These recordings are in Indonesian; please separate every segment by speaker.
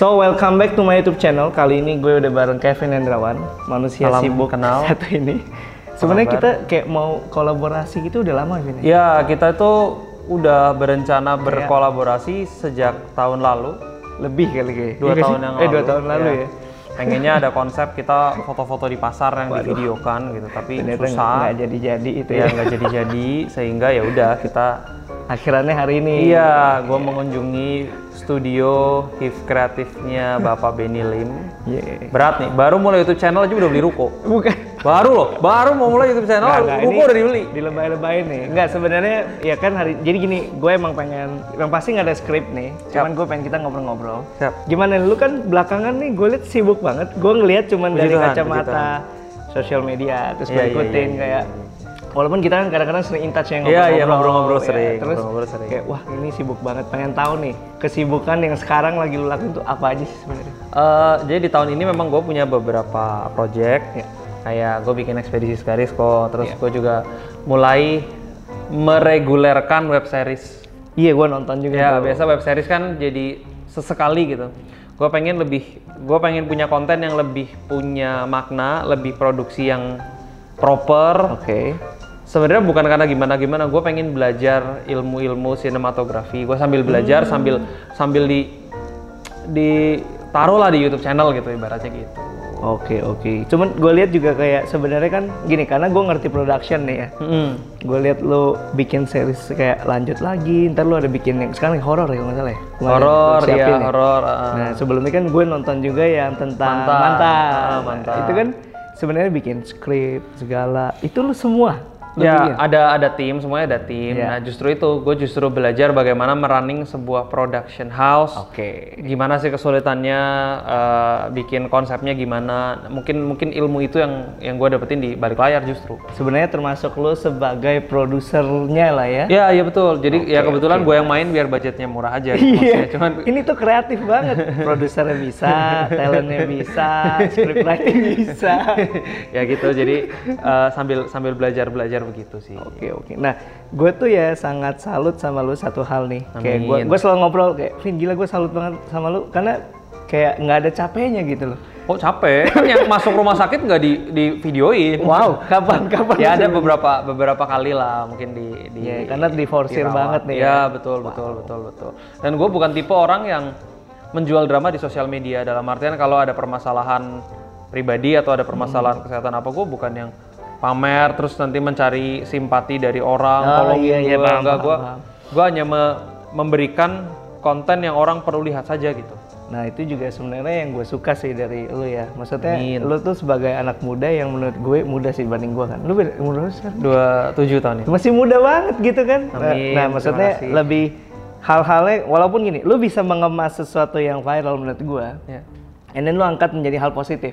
Speaker 1: So welcome back to my YouTube channel. Kali ini gue udah bareng Kevin Hendrawan, manusia
Speaker 2: Salam
Speaker 1: sibuk
Speaker 2: kenal.
Speaker 1: satu ini. Sebenarnya
Speaker 2: kabar?
Speaker 1: kita kayak mau kolaborasi gitu udah lama Vin. ya?
Speaker 2: Ya, kita itu udah berencana
Speaker 1: Iya.
Speaker 2: berkolaborasi sejak tahun lalu,
Speaker 1: Lebih kali kayak.
Speaker 2: dua tahun
Speaker 1: eh,
Speaker 2: yang lalu. Iya.
Speaker 1: dua tahun lalu ya.
Speaker 2: Pengennya ada konsep kita foto-foto di pasar yang divideokan gitu, tapi
Speaker 1: Ternyata
Speaker 2: susah.
Speaker 1: nggak jadi-jadi itu ya.
Speaker 2: ya nggak jadi-jadi, sehingga ya udah kita.
Speaker 1: Akhirannya hari ini.
Speaker 2: Iya, gue mengunjungi studio HIV kreatifnya Bapak Benny Lim.
Speaker 1: Iya.
Speaker 2: Berat nih, baru mulai YouTube channel aja udah beli ruko.
Speaker 1: Bukan.
Speaker 2: Baru loh, baru mau mulai YouTube channel,
Speaker 1: Nggak, nggak,
Speaker 2: ruko
Speaker 1: ini
Speaker 2: udah dibeli.
Speaker 1: Dilebay-lebayin nih. Enggak sebenarnya ya kan hari jadi gini, gue emang pengen yang pasti nggak ada skrip nih. Cuman gue pengen kita ngobrol-ngobrol.
Speaker 2: Siap.
Speaker 1: Gimana lu kan belakangan nih gue liat sibuk banget. Gue ngeliat cuman
Speaker 2: Puji
Speaker 1: dari
Speaker 2: Tuhan, puji
Speaker 1: kacamata sosial media terus gue
Speaker 2: Iya, iya,
Speaker 1: ikutin kayak Walaupun kita kan kadang-kadang sering in touch yang ngobrol-ngobrol,
Speaker 2: Iya, iya, ngobrol-ngobrol
Speaker 1: ya.
Speaker 2: sering,
Speaker 1: Terus
Speaker 2: ngobrol-ngobrol sering.
Speaker 1: kayak wah ini sibuk banget. Pengen tahu nih kesibukan yang sekarang lagi lu lakuin tuh apa aja sih sebenarnya?
Speaker 2: Eh, jadi di tahun ini memang gue punya beberapa project
Speaker 1: Ya.
Speaker 2: kayak gue bikin ekspedisi Skaris kok terus gue juga mulai meregulerkan web series
Speaker 1: Iya, gue nonton juga.
Speaker 2: ya
Speaker 1: tuh.
Speaker 2: biasa web series kan jadi sesekali gitu gue pengen lebih gue pengen punya konten yang lebih punya makna lebih produksi yang proper
Speaker 1: Oke.
Speaker 2: sebenarnya bukan karena gimana gimana gue pengen belajar ilmu-ilmu sinematografi gue sambil belajar
Speaker 1: Hmm.
Speaker 2: sambil sambil di di taruhlah di YouTube channel gitu ibaratnya gitu
Speaker 1: Oke oke. Cuman gue lihat juga kayak sebenarnya kan gini karena gue ngerti production nih ya.
Speaker 2: Mm.
Speaker 1: Gue lihat lo bikin series kayak lanjut lagi. Ntar lo ada bikin yang sekarang yang horor ya kalau nggak salah. ya? Kemarin
Speaker 2: horor
Speaker 1: lo
Speaker 2: ya
Speaker 1: siapin
Speaker 2: horor uh,
Speaker 1: Nah sebelumnya kan gue nonton juga yang tentang
Speaker 2: Mantan.
Speaker 1: mantan.
Speaker 2: Ah, Mantan.
Speaker 1: Itu kan sebenarnya bikin skrip segala. Itu lo semua. Lo
Speaker 2: ya
Speaker 1: bikin?
Speaker 2: ada ada tim semuanya ada tim
Speaker 1: Iya.
Speaker 2: nah justru itu gue justru belajar bagaimana merunning sebuah production house
Speaker 1: Oke.
Speaker 2: gimana sih kesulitannya eh, bikin konsepnya gimana mungkin mungkin ilmu itu yang yang gue dapetin di balik layar justru
Speaker 1: Sebenarnya termasuk lo sebagai produsernya lah ya.
Speaker 2: Ya, iya betul. Jadi ya kebetulan gue yang main biar budgetnya murah aja. gitu maksudnya. Cuman
Speaker 1: Ini tuh kreatif banget. Produsernya bisa, talentnya bisa, scriptwriting bisa.
Speaker 2: ya gitu. Jadi eh, sambil sambil belajar belajar begitu sih.
Speaker 1: Oke oke. Nah, gue tuh ya sangat salut sama lu satu hal nih. Kayak
Speaker 2: Amin.
Speaker 1: gue gue selalu ngobrol kayak, Vin gila gue salut banget sama lu karena kayak nggak ada capeknya gitu loh.
Speaker 2: Kok capek? Kan yang masuk rumah sakit nggak di di videoin.
Speaker 1: Wow, kapan kapan?
Speaker 2: Ya ada beberapa beberapa kali lah mungkin di di
Speaker 1: Iya, karena diforsir
Speaker 2: dirawat.
Speaker 1: banget nih ya.
Speaker 2: Iya, betul betul betul betul. Dan gue bukan tipe orang yang menjual drama di sosial media dalam artian kalau ada permasalahan pribadi atau ada
Speaker 1: Hmm.
Speaker 2: permasalahan kesehatan apa gue bukan yang pamer terus nanti mencari simpati dari orang,
Speaker 1: Oh,
Speaker 2: tolongin
Speaker 1: iya, iya,
Speaker 2: gue.
Speaker 1: paham,
Speaker 2: Enggak,
Speaker 1: paham,
Speaker 2: gue
Speaker 1: paham.
Speaker 2: gue hanya me- memberikan konten yang orang perlu lihat saja gitu.
Speaker 1: Nah itu juga sebenarnya yang gue suka sih dari lu ya. Maksudnya
Speaker 2: Amin.
Speaker 1: lu tuh sebagai anak muda yang menurut gue muda sih dibanding gue kan. Lu beda umur lu sekarang?
Speaker 2: 27 tahun ya.
Speaker 1: masih muda banget gitu kan. Nah,
Speaker 2: Amin,
Speaker 1: Nah,
Speaker 2: terima
Speaker 1: maksudnya
Speaker 2: kasih.
Speaker 1: lebih hal-halnya walaupun gini, lu bisa mengemas sesuatu yang viral menurut gue,
Speaker 2: Ya.
Speaker 1: and then lu angkat menjadi hal positif.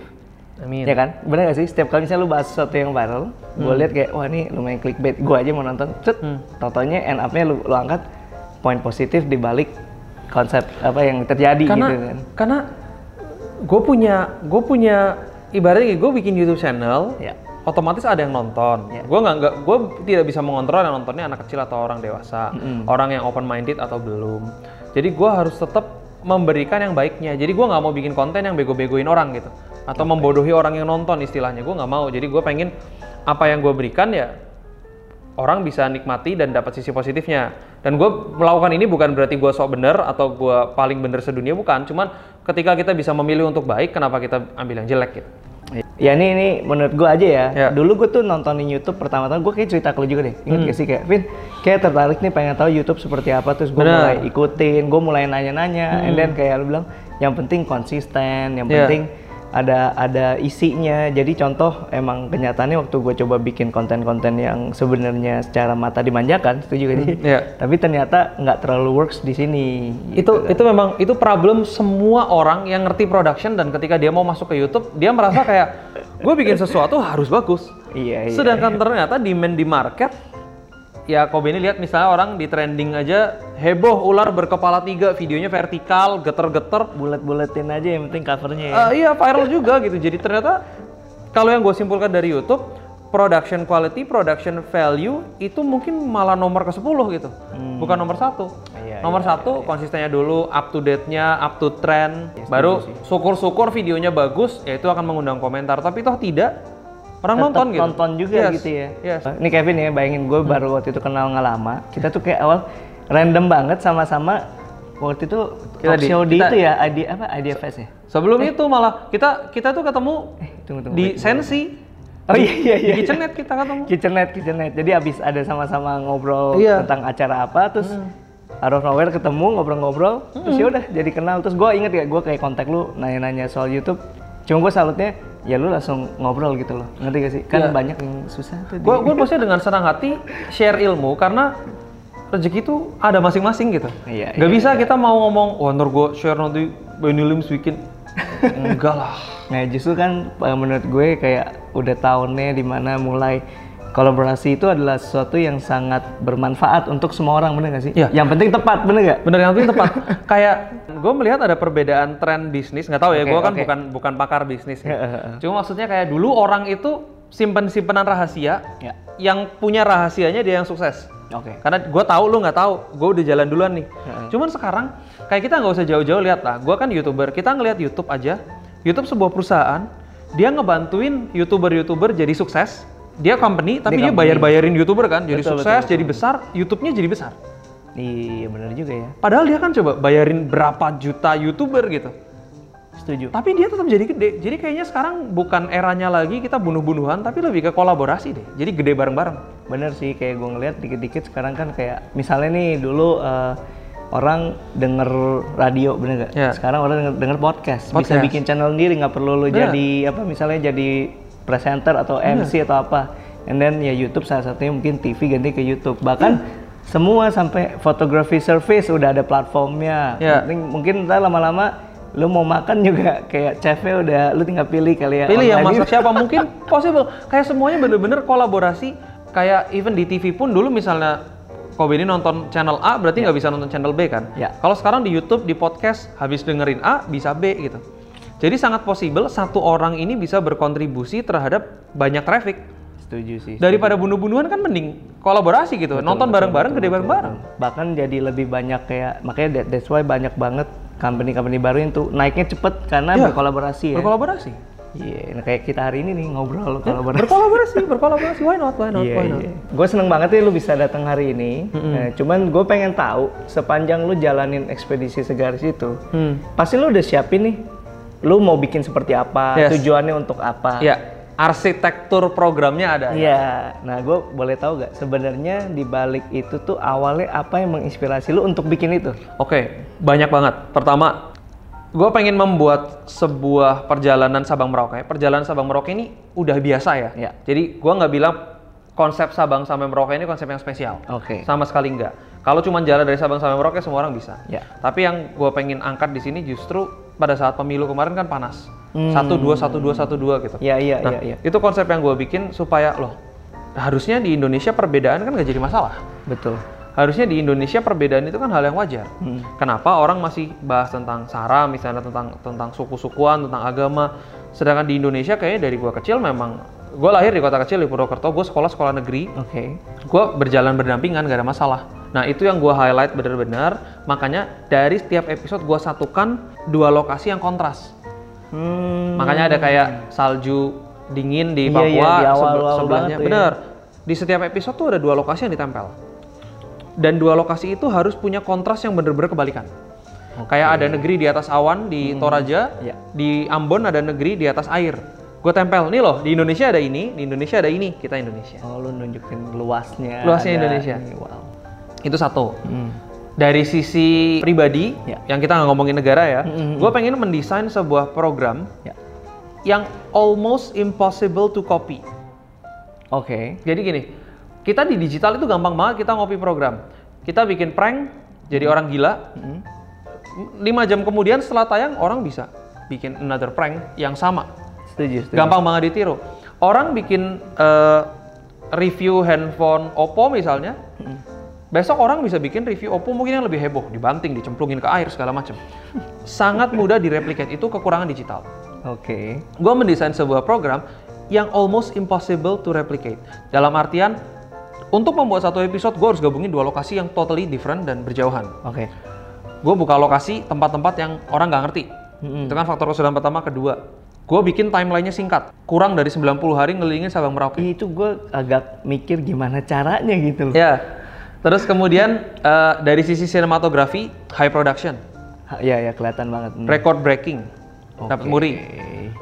Speaker 2: Amin. Hmm.
Speaker 1: Ya kan? Bener gak sih? Setiap kali misalnya lu bahas sesuatu yang viral, gue lihat kayak, wah ini lumayan clickbait, gue aja mau nonton, cet, totonya end up-nya lu, lu angkat poin positif di balik konsep apa yang terjadi
Speaker 2: karena
Speaker 1: gitu kan.
Speaker 2: karena gue punya gue punya ibaratnya gue bikin YouTube channel
Speaker 1: Ya.
Speaker 2: otomatis ada yang nonton gue nggak nggak gue tidak bisa mengontrol yang nontonnya anak kecil atau orang dewasa orang yang open minded atau belum jadi gue harus tetap memberikan yang baiknya jadi gue nggak mau bikin konten yang bego-begoin orang gitu atau membodohi orang yang nonton istilahnya gue nggak mau jadi gue pengen apa yang gue berikan ya orang bisa nikmati dan dapat sisi positifnya. Dan gue melakukan ini bukan berarti gue sok bener atau gue paling bener sedunia bukan. Cuman ketika kita bisa memilih untuk baik, kenapa kita ambil yang jelek gitu?
Speaker 1: Ya ini, ini menurut gue aja ya,
Speaker 2: Ya. Hmm.
Speaker 1: dulu gue tuh nontonin Youtube pertama-tama, gue kayak cerita ke lu juga deh, inget gak sih kayak, Vin, kayak tertarik nih pengen tahu Youtube seperti apa, terus gue
Speaker 2: Bener.
Speaker 1: mulai ikutin, gue mulai nanya-nanya, and then kayak lu bilang, yang penting konsisten, yang
Speaker 2: Hmm. Ya.
Speaker 1: penting ada ada isinya, jadi contoh emang kenyataannya waktu gue coba bikin konten-konten yang sebenarnya secara mata dimanjakan, setuju gak sih?
Speaker 2: ya.
Speaker 1: Tapi ternyata nggak terlalu works di sini.
Speaker 2: Itu
Speaker 1: kan.
Speaker 2: itu memang itu problem semua orang yang ngerti production dan ketika dia mau masuk ke YouTube, dia merasa kayak gue bikin sesuatu harus bagus.
Speaker 1: Iya, iya.
Speaker 2: Sedangkan ternyata demand di market ya Kobe ini lihat misalnya orang di trending aja heboh ular berkepala tiga videonya vertikal geter-geter
Speaker 1: Bulat-bulatin aja yang penting covernya ya.
Speaker 2: Eh, iya viral juga gitu. Jadi ternyata kalau yang gue simpulkan dari YouTube, production quality, production value itu mungkin malah nomor ke-10 gitu. Bukan nomor satu.
Speaker 1: Hmm. Iya, Iya,
Speaker 2: nomor satu konsistennya dulu, up to date-nya, up to trend. baru syukur-syukur videonya bagus, ya itu akan mengundang komentar. Tapi toh tidak orang
Speaker 1: Tetep
Speaker 2: nonton gitu.
Speaker 1: nonton juga
Speaker 2: Yes,
Speaker 1: gitu ya.
Speaker 2: yes. Hmm.
Speaker 1: Ini Kevin ya, bayangin gue baru waktu itu kenal nggak lama. Kita tuh kayak awal random banget sama-sama waktu itu
Speaker 2: Kita
Speaker 1: talk
Speaker 2: di-
Speaker 1: show di
Speaker 2: kita-
Speaker 1: itu ya, ID apa? IDFS ya?
Speaker 2: Sebelum itu malah kita kita tuh ketemu
Speaker 1: Eh, tunggu tunggu.
Speaker 2: di Sensi,
Speaker 1: oh iya iya
Speaker 2: di
Speaker 1: iya.
Speaker 2: Kitchenette kita ketemu.
Speaker 1: Kitchenette, Kitchenette. Jadi abis ada sama-sama ngobrol
Speaker 2: Iya. Hmm.
Speaker 1: tentang acara apa, terus out of nowhere ketemu ngobrol-ngobrol, terus ya udah jadi kenal. Terus gue inget ya, gue kayak kontak lu nanya-nanya soal YouTube. Cuma gue salutnya, ya lu langsung ngobrol gitu loh. Ngerti gak sih?
Speaker 2: Iya.
Speaker 1: Kan banyak yang susah tuh. di-
Speaker 2: Gue gue maksudnya dengan senang hati share ilmu karena rezeki itu ada masing-masing gitu.
Speaker 1: Iya,
Speaker 2: Gak bisa kita mau ngomong, wah ntar gue share nanti Benny Lim weekend. Enggak lah.
Speaker 1: Nah justru kan eh, menurut gue kayak udah tahunnya dimana mulai kolaborasi itu adalah sesuatu yang sangat bermanfaat untuk semua orang bener gak sih?
Speaker 2: Iya.
Speaker 1: Yang penting tepat bener gak?
Speaker 2: Bener yang penting tepat. Kayak gue melihat ada perbedaan tren bisnis. Nggak tahu ya,
Speaker 1: Oke,
Speaker 2: gue kan
Speaker 1: oke.
Speaker 2: bukan bukan pakar bisnis. ya. Cuma maksudnya kayak dulu orang itu simpen simpenan rahasia.
Speaker 1: Ya.
Speaker 2: Yang punya rahasianya dia yang sukses.
Speaker 1: Oke.
Speaker 2: Karena gue tahu lu nggak tahu, gue udah jalan duluan nih. Cuman sekarang kayak kita nggak usah jauh-jauh lihat lah. Gue kan youtuber, kita ngelihat YouTube aja. YouTube sebuah perusahaan, dia ngebantuin youtuber-youtuber jadi sukses. Dia company, tapi dia bayar-bayarin youtuber kan, jadi
Speaker 1: Betul,
Speaker 2: sukses, jadi besar, YouTube-nya jadi besar.
Speaker 1: Iya bener juga ya.
Speaker 2: Padahal dia kan coba bayarin berapa juta youtuber gitu.
Speaker 1: Setuju.
Speaker 2: Tapi dia tetap jadi gede. Jadi kayaknya sekarang bukan eranya lagi kita bunuh-bunuhan, tapi lebih ke kolaborasi deh. Jadi gede bareng-bareng.
Speaker 1: Bener sih kayak gue ngeliat dikit-dikit sekarang kan kayak misalnya nih dulu eh, orang denger radio bener gak?
Speaker 2: Iya.
Speaker 1: Sekarang orang denger, denger podcast. Bisa
Speaker 2: Podcast.
Speaker 1: bikin channel sendiri nggak perlu lu
Speaker 2: Bener.
Speaker 1: jadi apa misalnya jadi presenter atau MC atau apa. And then ya YouTube salah satunya mungkin TV ganti ke YouTube. Bahkan
Speaker 2: Hmm.
Speaker 1: semua sampai photography service udah ada platformnya.
Speaker 2: Iya.
Speaker 1: Mungkin, mungkin ntar lama-lama lu mau makan juga kayak chefnya udah lu tinggal pilih kali ya.
Speaker 2: Pilih yang
Speaker 1: online.
Speaker 2: masak siapa mungkin possible. Kayak semuanya bener-bener kolaborasi. Kayak even di TV pun dulu misalnya Kobe ini nonton channel A berarti nggak bisa nonton channel B kan?
Speaker 1: Ya.
Speaker 2: Kalau sekarang di YouTube, di podcast habis dengerin A bisa B gitu. Jadi sangat possible satu orang ini bisa berkontribusi terhadap banyak traffic.
Speaker 1: Setuju sih.
Speaker 2: Daripada bunuh-bunuhan kan mending kolaborasi gitu. nonton bareng-bareng gede bareng-bareng.
Speaker 1: bahkan jadi lebih banyak kayak makanya that- that's why banyak banget company-company baru yang tuh naiknya cepet karena berkolaborasi ya.
Speaker 2: Berkolaborasi.
Speaker 1: Iya, nah kayak kita hari ini nih ngobrol kolaborasi.
Speaker 2: Berkolaborasi, berkolaborasi. Why not? Why not?
Speaker 1: Iya,
Speaker 2: why not?
Speaker 1: Gue seneng banget ya lu bisa datang hari ini. Eh, cuman gue pengen tahu sepanjang lu jalanin ekspedisi segaris itu,
Speaker 2: Hmm.
Speaker 1: pasti lu udah siapin nih. Lu mau bikin seperti apa,
Speaker 2: Yes.
Speaker 1: tujuannya untuk apa.
Speaker 2: Ya, arsitektur programnya ada.
Speaker 1: Iya, nah gue boleh tahu gak sebenarnya di balik itu tuh awalnya apa yang menginspirasi lu untuk bikin itu?
Speaker 2: Oke, banyak banget. Pertama, gue pengen membuat sebuah perjalanan Sabang Merauke. Perjalanan Sabang Merauke ini udah biasa ya.
Speaker 1: Ya.
Speaker 2: Jadi gue nggak bilang konsep Sabang sampai Merauke ini konsep yang spesial.
Speaker 1: Oke.
Speaker 2: Sama sekali nggak. Kalau cuma jalan dari Sabang sampai Merauke semua orang bisa.
Speaker 1: Ya.
Speaker 2: Tapi yang gue pengen angkat di sini justru pada saat pemilu kemarin kan panas. Satu dua satu dua satu dua gitu.
Speaker 1: Hmm. Iya, iya,
Speaker 2: Nah,
Speaker 1: iya, iya.
Speaker 2: Itu konsep yang gue bikin supaya loh harusnya di Indonesia perbedaan kan nggak jadi masalah.
Speaker 1: Betul.
Speaker 2: Harusnya di Indonesia perbedaan itu kan hal yang wajar. Kenapa orang masih bahas tentang sara, misalnya tentang tentang suku-sukuan, tentang agama, sedangkan di Indonesia kayaknya dari gua kecil memang gua lahir di kota kecil di Purwokerto, gua sekolah sekolah negeri,
Speaker 1: Oke.
Speaker 2: gua berjalan berdampingan gak ada masalah. Nah itu yang gua highlight bener-bener, makanya dari setiap episode gua satukan dua lokasi yang kontras.
Speaker 1: Hmm.
Speaker 2: Makanya ada kayak salju dingin di
Speaker 1: Iya,
Speaker 2: Papua
Speaker 1: iya, di awal-awal
Speaker 2: sebe- sebelahnya.
Speaker 1: banget tuh ya.
Speaker 2: Bener. Di setiap episode tuh ada dua lokasi yang ditempel. Dan dua lokasi itu harus punya kontras yang bener-bener kebalikan. Kayak ada negeri di atas awan di Toraja,
Speaker 1: Iya.
Speaker 2: di Ambon ada negeri di atas air. Gue tempel, nih loh di Indonesia ada ini, di Indonesia ada ini, kita Indonesia.
Speaker 1: Oh, lu nunjukin luasnya.
Speaker 2: Luasnya
Speaker 1: ada
Speaker 2: Indonesia.
Speaker 1: ini, Wow.
Speaker 2: Itu satu.
Speaker 1: Hmm.
Speaker 2: Dari sisi pribadi,
Speaker 1: Ya.
Speaker 2: yang kita nggak ngomongin negara ya,
Speaker 1: Hmm,
Speaker 2: gue pengen mendesain sebuah program
Speaker 1: Ya.
Speaker 2: yang almost impossible to copy.
Speaker 1: Oke.
Speaker 2: Jadi gini, kita di digital itu gampang banget kita ngopi program. Kita bikin prank, jadi orang gila. lima 5 jam kemudian setelah tayang orang bisa bikin another prank yang sama.
Speaker 1: Setuju, setuju.
Speaker 2: Gampang banget ditiru. Orang bikin eh, review handphone Oppo misalnya. Besok orang bisa bikin review Oppo mungkin yang lebih heboh, dibanting, dicemplungin ke air segala macam. Sangat mudah direplicate itu kekurangan digital
Speaker 1: Oke.
Speaker 2: gue mendesain sebuah program yang almost impossible to replicate. Dalam artian, untuk membuat satu episode, gue harus gabungin dua lokasi yang totally different dan berjauhan.
Speaker 1: Oke.
Speaker 2: Gue buka lokasi tempat-tempat yang orang nggak ngerti.
Speaker 1: Mm-mm.
Speaker 2: Itu kan faktor kesulitan pertama. Kedua, gue bikin timelinenya singkat. Kurang dari 90 hari ngelilingin Sabang Merauke.
Speaker 1: Itu gue agak mikir gimana caranya gitu loh.
Speaker 2: Ya. Terus kemudian eh, dari sisi sinematografi, high production,
Speaker 1: Ha- Ya ya kelihatan banget. Hmm.
Speaker 2: record breaking, dapat
Speaker 1: Oke.
Speaker 2: muri.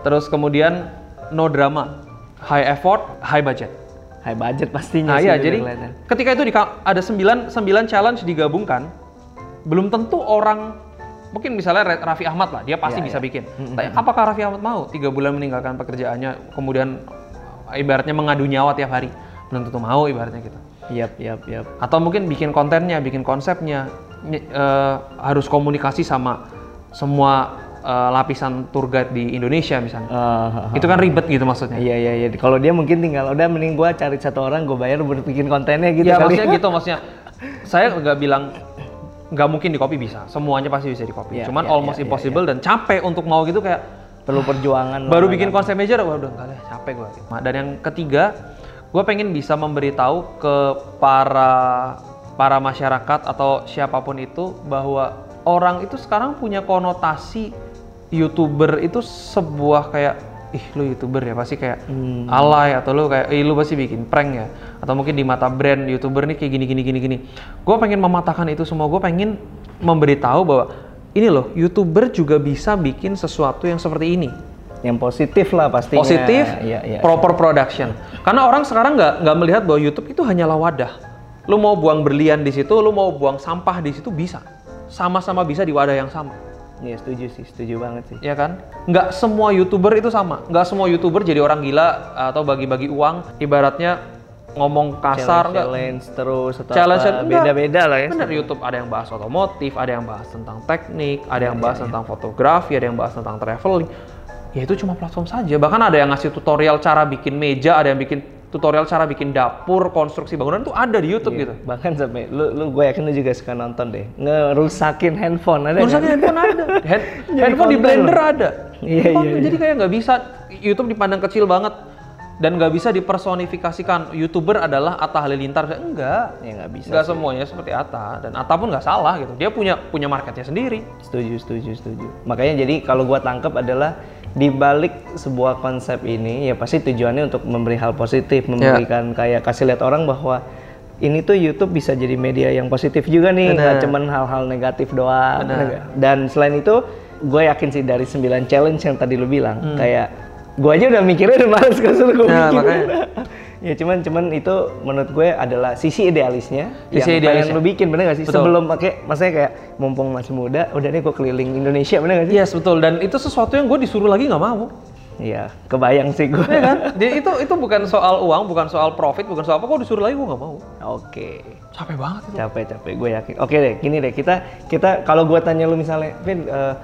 Speaker 2: Terus kemudian no drama, high effort, high budget.
Speaker 1: High budget pastinya
Speaker 2: Nah
Speaker 1: sih
Speaker 2: iya,
Speaker 1: udah
Speaker 2: jadi
Speaker 1: kelihatan.
Speaker 2: ketika itu dika- ada 9, 9 challenge digabungkan, belum tentu orang, mungkin misalnya Re- Raffi Ahmad lah, dia pasti
Speaker 1: Iya,
Speaker 2: bisa bikin. Tapi apakah Raffi Ahmad mau tiga bulan meninggalkan pekerjaannya, kemudian eh, ibaratnya mengadu nyawa tiap hari? Belum tentu mau ibaratnya gitu.
Speaker 1: Yap yap yap.
Speaker 2: Atau mungkin bikin kontennya, bikin konsepnya, ny- eh, harus komunikasi sama semua eh, lapisan tour guide di Indonesia misalnya.
Speaker 1: Ah,
Speaker 2: Itu kan ribet gitu maksudnya.
Speaker 1: Iya iya iya. Kalau dia mungkin tinggal udah mending gua cari satu orang gue bayar buat bikin kontennya gitu
Speaker 2: ya
Speaker 1: kali.
Speaker 2: maksudnya gitu maksudnya saya nggak bilang nggak mungkin di copy bisa semuanya pasti bisa di copy
Speaker 1: Ya,
Speaker 2: cuman
Speaker 1: ya,
Speaker 2: almost
Speaker 1: ya, ya,
Speaker 2: impossible dan capek untuk mau gitu kayak
Speaker 1: Perlu perjuangan. lah,
Speaker 2: baru
Speaker 1: kan.
Speaker 2: bikin konsep aja udah waduh nggak deh capek gue dan yang ketiga gue pengen bisa memberitahu ke para para masyarakat atau siapapun itu bahwa orang itu sekarang punya konotasi youtuber itu sebuah kayak ih lu youtuber ya pasti kayak alay atau lu kayak ih lu pasti bikin prank ya atau mungkin di mata brand youtuber nih kayak gini gini gini gini gue pengen mematahkan itu semua gue pengen memberitahu bahwa ini loh youtuber juga bisa bikin sesuatu yang seperti ini
Speaker 1: Yang positif lah pastinya.
Speaker 2: positif,
Speaker 1: Iya iya.
Speaker 2: proper production. Karena orang sekarang nggak nggak melihat bahwa YouTube itu hanyalah wadah. Lu mau buang berlian di situ, lu mau buang sampah di situ bisa. Sama-sama bisa di wadah yang sama,
Speaker 1: Iya setuju sih, setuju banget sih.
Speaker 2: ya kan? Nggak semua YouTuber itu sama. Nggak semua YouTuber jadi orang gila atau bagi-bagi uang. Ibaratnya ngomong kasar, nggak
Speaker 1: challenge terus atau
Speaker 2: challenge
Speaker 1: apa,
Speaker 2: enggak.
Speaker 1: beda-beda lah ya.
Speaker 2: Bener Kan YouTube ada yang bahas otomotif, ada yang bahas tentang teknik, ada yang
Speaker 1: Iya,
Speaker 2: bahas tentang fotografi, ada yang bahas tentang traveling. Ya itu cuma platform saja. Bahkan ada yang ngasih tutorial cara bikin meja, ada yang bikin tutorial cara bikin dapur, konstruksi bangunan tuh ada di
Speaker 1: Iya.
Speaker 2: YouTube gitu.
Speaker 1: Bahkan sampai lu lu gue yakin lu juga suka nonton deh. Ngerusakin handphone ada
Speaker 2: Urusan
Speaker 1: nggak?
Speaker 2: handphone ada, Hand-
Speaker 1: Jadi
Speaker 2: handphone di
Speaker 1: konten
Speaker 2: blender
Speaker 1: loh.
Speaker 2: ada.
Speaker 1: Iya,
Speaker 2: Handphone
Speaker 1: iya,
Speaker 2: tuh
Speaker 1: iya.
Speaker 2: Jadi kayak nggak bisa YouTube dipandang kecil banget dan nggak bisa dipersonifikasikan YouTuber adalah Atta Halilintar enggak.
Speaker 1: Ya nggak bisa.
Speaker 2: Nggak semuanya seperti Atta dan Atta pun nggak salah gitu. Dia punya punya marketnya sendiri.
Speaker 1: Setuju, setuju, setuju. Makanya jadi kalau gua tangkep adalah di balik sebuah konsep ini ya pasti tujuannya untuk memberi hal
Speaker 2: Ya.
Speaker 1: positif, memberikan kayak kasih lihat orang bahwa ini tuh YouTube bisa jadi media yang positif juga nih, nggak cuman hal-hal negatif doang. Dan selain itu, gue yakin sih dari 9 challenge yang tadi lu bilang, kayak gue aja udah mikirnya udah males kesel gue
Speaker 2: Hmm. Nah,
Speaker 1: bikin.
Speaker 2: makanya.
Speaker 1: ya cuman cuman itu menurut gue adalah sisi idealisnya
Speaker 2: Sisi
Speaker 1: yang
Speaker 2: idealisnya.
Speaker 1: pengen lu bikin bener gak sih?
Speaker 2: Betul.
Speaker 1: Sebelum pakai, maksudnya kayak mumpung masih muda, udah nih gue keliling Indonesia bener gak sih?
Speaker 2: Yes betul dan itu sesuatu yang gue disuruh lagi nggak mau.
Speaker 1: Iya, kebayang sih gue.
Speaker 2: Ya kan? Jadi itu itu bukan soal uang, bukan soal profit, bukan soal apa. Gue disuruh lagi gue nggak mau.
Speaker 1: Oke,
Speaker 2: Capek banget itu.
Speaker 1: capek-capek gue yakin. Oke deh, gini deh kita kita kalau gue tanya lu misalnya, Vin, eh,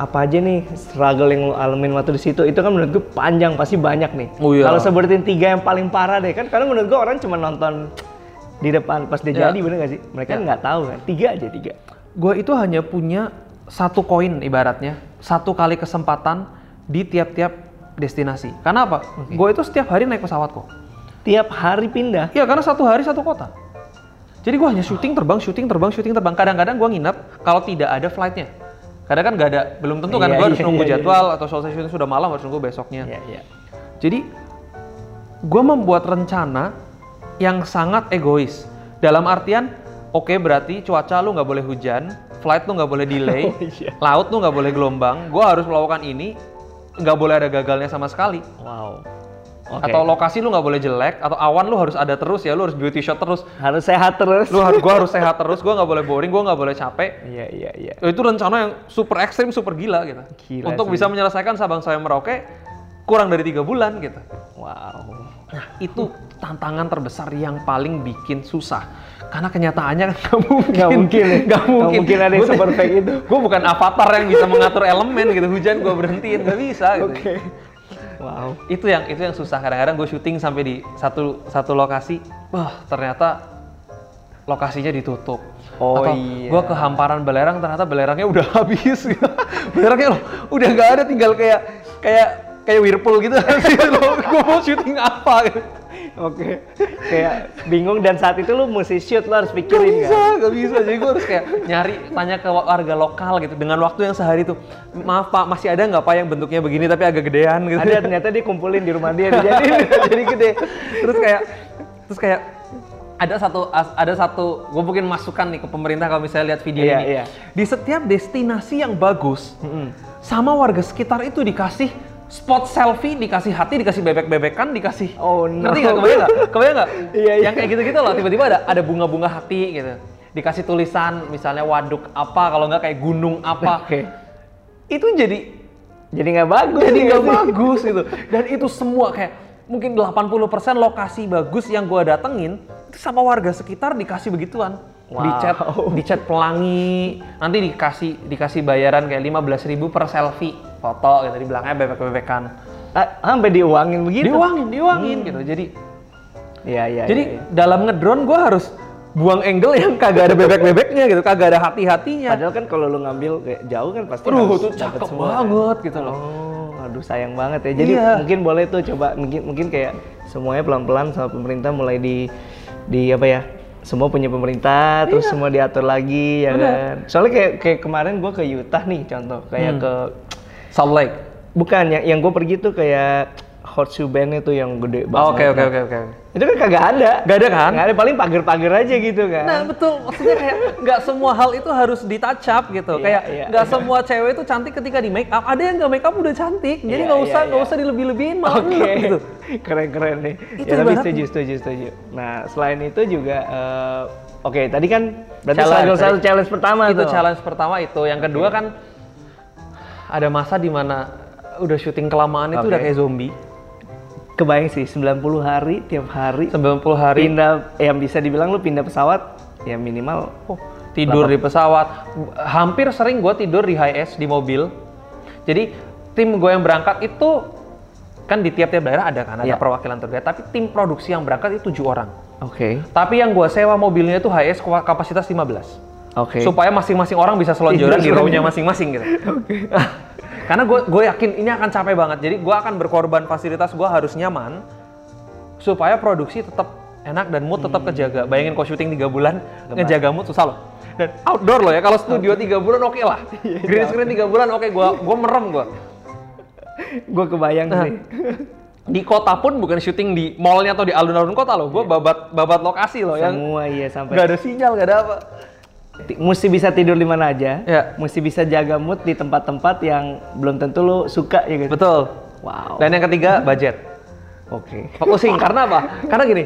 Speaker 1: apa aja nih struggle yang lu alamin waktu di situ? Itu kan menurut gue panjang, pasti banyak nih.
Speaker 2: Oh iya.
Speaker 1: Kalau sebutin tiga yang paling parah deh kan, karena menurut gue orang cuma nonton di depan pas dia
Speaker 2: Iya.
Speaker 1: jadi bener gak sih? Mereka nggak tahu kan? Tiga aja tiga.
Speaker 2: Gue itu hanya punya satu koin ibaratnya, satu kali kesempatan di tiap-tiap destinasi. Karena apa? Gue itu setiap hari naik pesawat kok.
Speaker 1: Tiap hari pindah.
Speaker 2: Iya karena satu hari satu kota. Jadi gue hanya syuting terbang, syuting terbang, syuting terbang. Kadang-kadang gue nginep kalau tidak ada flightnya. Kadang kan nggak ada, belum tentu kan
Speaker 1: Iya,
Speaker 2: gue harus
Speaker 1: iya,
Speaker 2: nunggu
Speaker 1: iya, iya.
Speaker 2: jadwal atau selesai syuting sudah malam harus nunggu besoknya.
Speaker 1: Iya iya.
Speaker 2: Jadi gue membuat rencana yang sangat egois. Dalam artian, oke berarti cuaca lu nggak boleh hujan, flight lu nggak boleh delay,
Speaker 1: Oh, iya.
Speaker 2: laut lu nggak boleh gelombang. Gue harus melakukan ini, nggak boleh ada gagalnya sama sekali.
Speaker 1: Wow.
Speaker 2: Atau lokasi lu nggak boleh jelek, atau awan lu harus ada terus ya, lu harus beauty shot terus.
Speaker 1: harus sehat terus.
Speaker 2: Lu harus, gue harus sehat terus, gue nggak boleh boring, gue nggak boleh capek.
Speaker 1: Iya iya iya.
Speaker 2: Itu rencana yang super ekstrim, super gila gitu.
Speaker 1: Gila
Speaker 2: Untuk
Speaker 1: sih.
Speaker 2: bisa menyelesaikan Sabang saya Merauke kurang dari tiga bulan gitu.
Speaker 1: Wow.
Speaker 2: Nah, itu tantangan terbesar yang paling bikin susah. Karena kenyataannya kan nggak
Speaker 1: Nggak
Speaker 2: mungkin.
Speaker 1: mungkin ya.
Speaker 2: Nggak
Speaker 1: Nggak
Speaker 2: mungkin.
Speaker 1: mungkin ada yang seperfect itu.
Speaker 2: Gue bukan avatar yang bisa mengatur elemen gitu. Hujan gue berhentiin, nggak bisa gitu.
Speaker 1: Wow.
Speaker 2: Itu yang itu yang susah. Kadang-kadang gue syuting sampai di satu satu lokasi, wah ternyata lokasinya ditutup.
Speaker 1: Oh,
Speaker 2: Atau
Speaker 1: iya.
Speaker 2: gue ke hamparan belerang ternyata belerangnya udah habis gitu. belerangnya loh, udah nggak ada tinggal kayak kayak kayak Whirlpool gitu. gue mau syuting apa gitu.
Speaker 1: Oke. Kayak bingung dan saat itu lu mesti shoot lu harus
Speaker 2: Gak
Speaker 1: pikirin
Speaker 2: bisa,
Speaker 1: kan.
Speaker 2: gak bisa. Jadi gue harus kayak nyari, tanya ke warga lokal gitu. Dengan waktu yang sehari tuh, maaf pak, masih ada nggak pak yang bentuknya begini tapi agak gedean gitu.
Speaker 1: Ada ternyata dia kumpulin di rumah dia jadi
Speaker 2: jadi gede terus kayak terus kayak ada satu as- ada satu gue mungkin masukan nih ke pemerintah kalau misalnya lihat video
Speaker 1: Iya,
Speaker 2: ini
Speaker 1: iya.
Speaker 2: di setiap destinasi yang bagus sama warga sekitar itu dikasih spot selfie dikasih hati dikasih bebek-bebekan dikasih
Speaker 1: Oh, no.
Speaker 2: ngerti nggak kebayang nggak kebayang nggak
Speaker 1: Iya, iya.
Speaker 2: yang kayak gitu-gitu loh tiba-tiba ada ada bunga-bunga hati gitu dikasih tulisan misalnya waduk apa kalau nggak kayak gunung apa
Speaker 1: Oke.
Speaker 2: itu jadi
Speaker 1: Jadi nggak bagus.
Speaker 2: jadi
Speaker 1: ya
Speaker 2: nggak
Speaker 1: sih?
Speaker 2: bagus gitu dan itu semua kayak mungkin 80% lokasi bagus yang gua datengin itu sama warga sekitar dikasih begituan
Speaker 1: Wow.
Speaker 2: dicat dicat pelangi nanti dikasih dikasih bayaran kayak 15.000 per selfie foto gitu di belakangnya bebek-bebekan
Speaker 1: Ah, sampai diuangin begitu.
Speaker 2: diuangin diuangin gitu jadi
Speaker 1: Iya, iya.
Speaker 2: jadi
Speaker 1: iya, iya.
Speaker 2: dalam ngedrone gua harus buang angle yang kagak ada bebek-bebeknya gitu kagak ada hati-hatinya
Speaker 1: padahal kan kalau lu ngambil kayak jauh kan pasti
Speaker 2: Aduh,
Speaker 1: harus
Speaker 2: itu
Speaker 1: dapet
Speaker 2: cakep
Speaker 1: semua, kan?
Speaker 2: banget gitu loh.
Speaker 1: Oh, aduh sayang banget ya. Jadi
Speaker 2: Iya.
Speaker 1: mungkin boleh tuh coba mungkin mungkin kayak semuanya pelan-pelan sama pemerintah mulai di di apa ya? Semua punya pemerintah, terus
Speaker 2: Iya.
Speaker 1: semua diatur lagi ya kan. Soalnya kayak kayak kemarin gua ke Utah nih contoh, kayak
Speaker 2: Hmm.
Speaker 1: ke
Speaker 2: Salt Lake.
Speaker 1: bukan yang yang gua pergi tuh kayak Horseshoe Bend itu yang gede banget.
Speaker 2: Oh, Oke oke oke oke.
Speaker 1: Itu kan kagak ada.
Speaker 2: Gak ada kan?
Speaker 1: Nggak ada paling pagar-pagar aja gitu kan.
Speaker 2: Nah betul, maksudnya kayak nggak semua hal itu harus ditacap
Speaker 1: Iya,
Speaker 2: gitu. kayak
Speaker 1: iya,
Speaker 2: nggak semua cewek itu cantik ketika di make up. Ada yang nggak make up udah cantik, jadi
Speaker 1: Iya,
Speaker 2: nggak
Speaker 1: iya,
Speaker 2: usah nggak
Speaker 1: iya.
Speaker 2: usah dilebih-lebihin malah
Speaker 1: Oke,
Speaker 2: enak gitu.
Speaker 1: keren-keren nih.
Speaker 2: Itu
Speaker 1: ya, tapi
Speaker 2: ibarat-
Speaker 1: setuju, setuju, setuju. Nah, selain itu juga, eh, oke, tadi kan berarti
Speaker 2: Challenge,
Speaker 1: challenge, satu
Speaker 2: tadi.
Speaker 1: challenge pertama
Speaker 2: Itu
Speaker 1: tuh.
Speaker 2: challenge pertama itu. Yang kedua kan ada masa di mana udah syuting kelamaan itu
Speaker 1: Oke.
Speaker 2: udah kayak zombie.
Speaker 1: Kebayang sih, 90 hari tiap hari
Speaker 2: 90 hari
Speaker 1: pindah, yang bisa dibilang lu pindah pesawat, ya minimal. Oh,
Speaker 2: tidur di pesawat. Hampir sering gue tidur di high es di mobil. Jadi tim gue yang berangkat itu kan di tiap-tiap daerah ada kan ada
Speaker 1: Iya.
Speaker 2: perwakilan terkait. Tapi tim produksi yang berangkat itu tujuh orang.
Speaker 1: Oke,
Speaker 2: Tapi yang gua sewa mobilnya itu HS kwa- kapasitas 15.
Speaker 1: oke. Iya,
Speaker 2: Supaya masing-masing orang bisa selonjoran di
Speaker 1: Tidur
Speaker 2: row-nya
Speaker 1: selonjoran.
Speaker 2: masing-masing gitu. Karena gue yakin ini akan capek banget. Jadi gua akan berkorban fasilitas gua harus nyaman supaya produksi tetap enak dan mood
Speaker 1: Hmm.
Speaker 2: tetap kejaga. Bayangin kau syuting 3 bulan ngejaga mood susah loh. Dan outdoor loh ya kalau studio 3 bulan oke lah.
Speaker 1: Iya,
Speaker 2: Green screen 3 bulan oke gua gua merem gua.
Speaker 1: Gue kebayang sih.
Speaker 2: Di kota pun bukan syuting di mallnya atau di alun-alun kota loh. Gua babat babat lokasi loh
Speaker 1: Iya.
Speaker 2: yang
Speaker 1: Semua iya sampai.
Speaker 2: nggak ada sinyal, nggak ada apa.
Speaker 1: Ti- Mesti bisa tidur di mana aja.
Speaker 2: Ya.
Speaker 1: Mesti bisa jaga mood di tempat-tempat yang belum tentu lu suka ya gitu.
Speaker 2: Betul.
Speaker 1: Wow.
Speaker 2: Dan yang ketiga budget.
Speaker 1: Oke.
Speaker 2: Fokusing karena apa? Karena gini.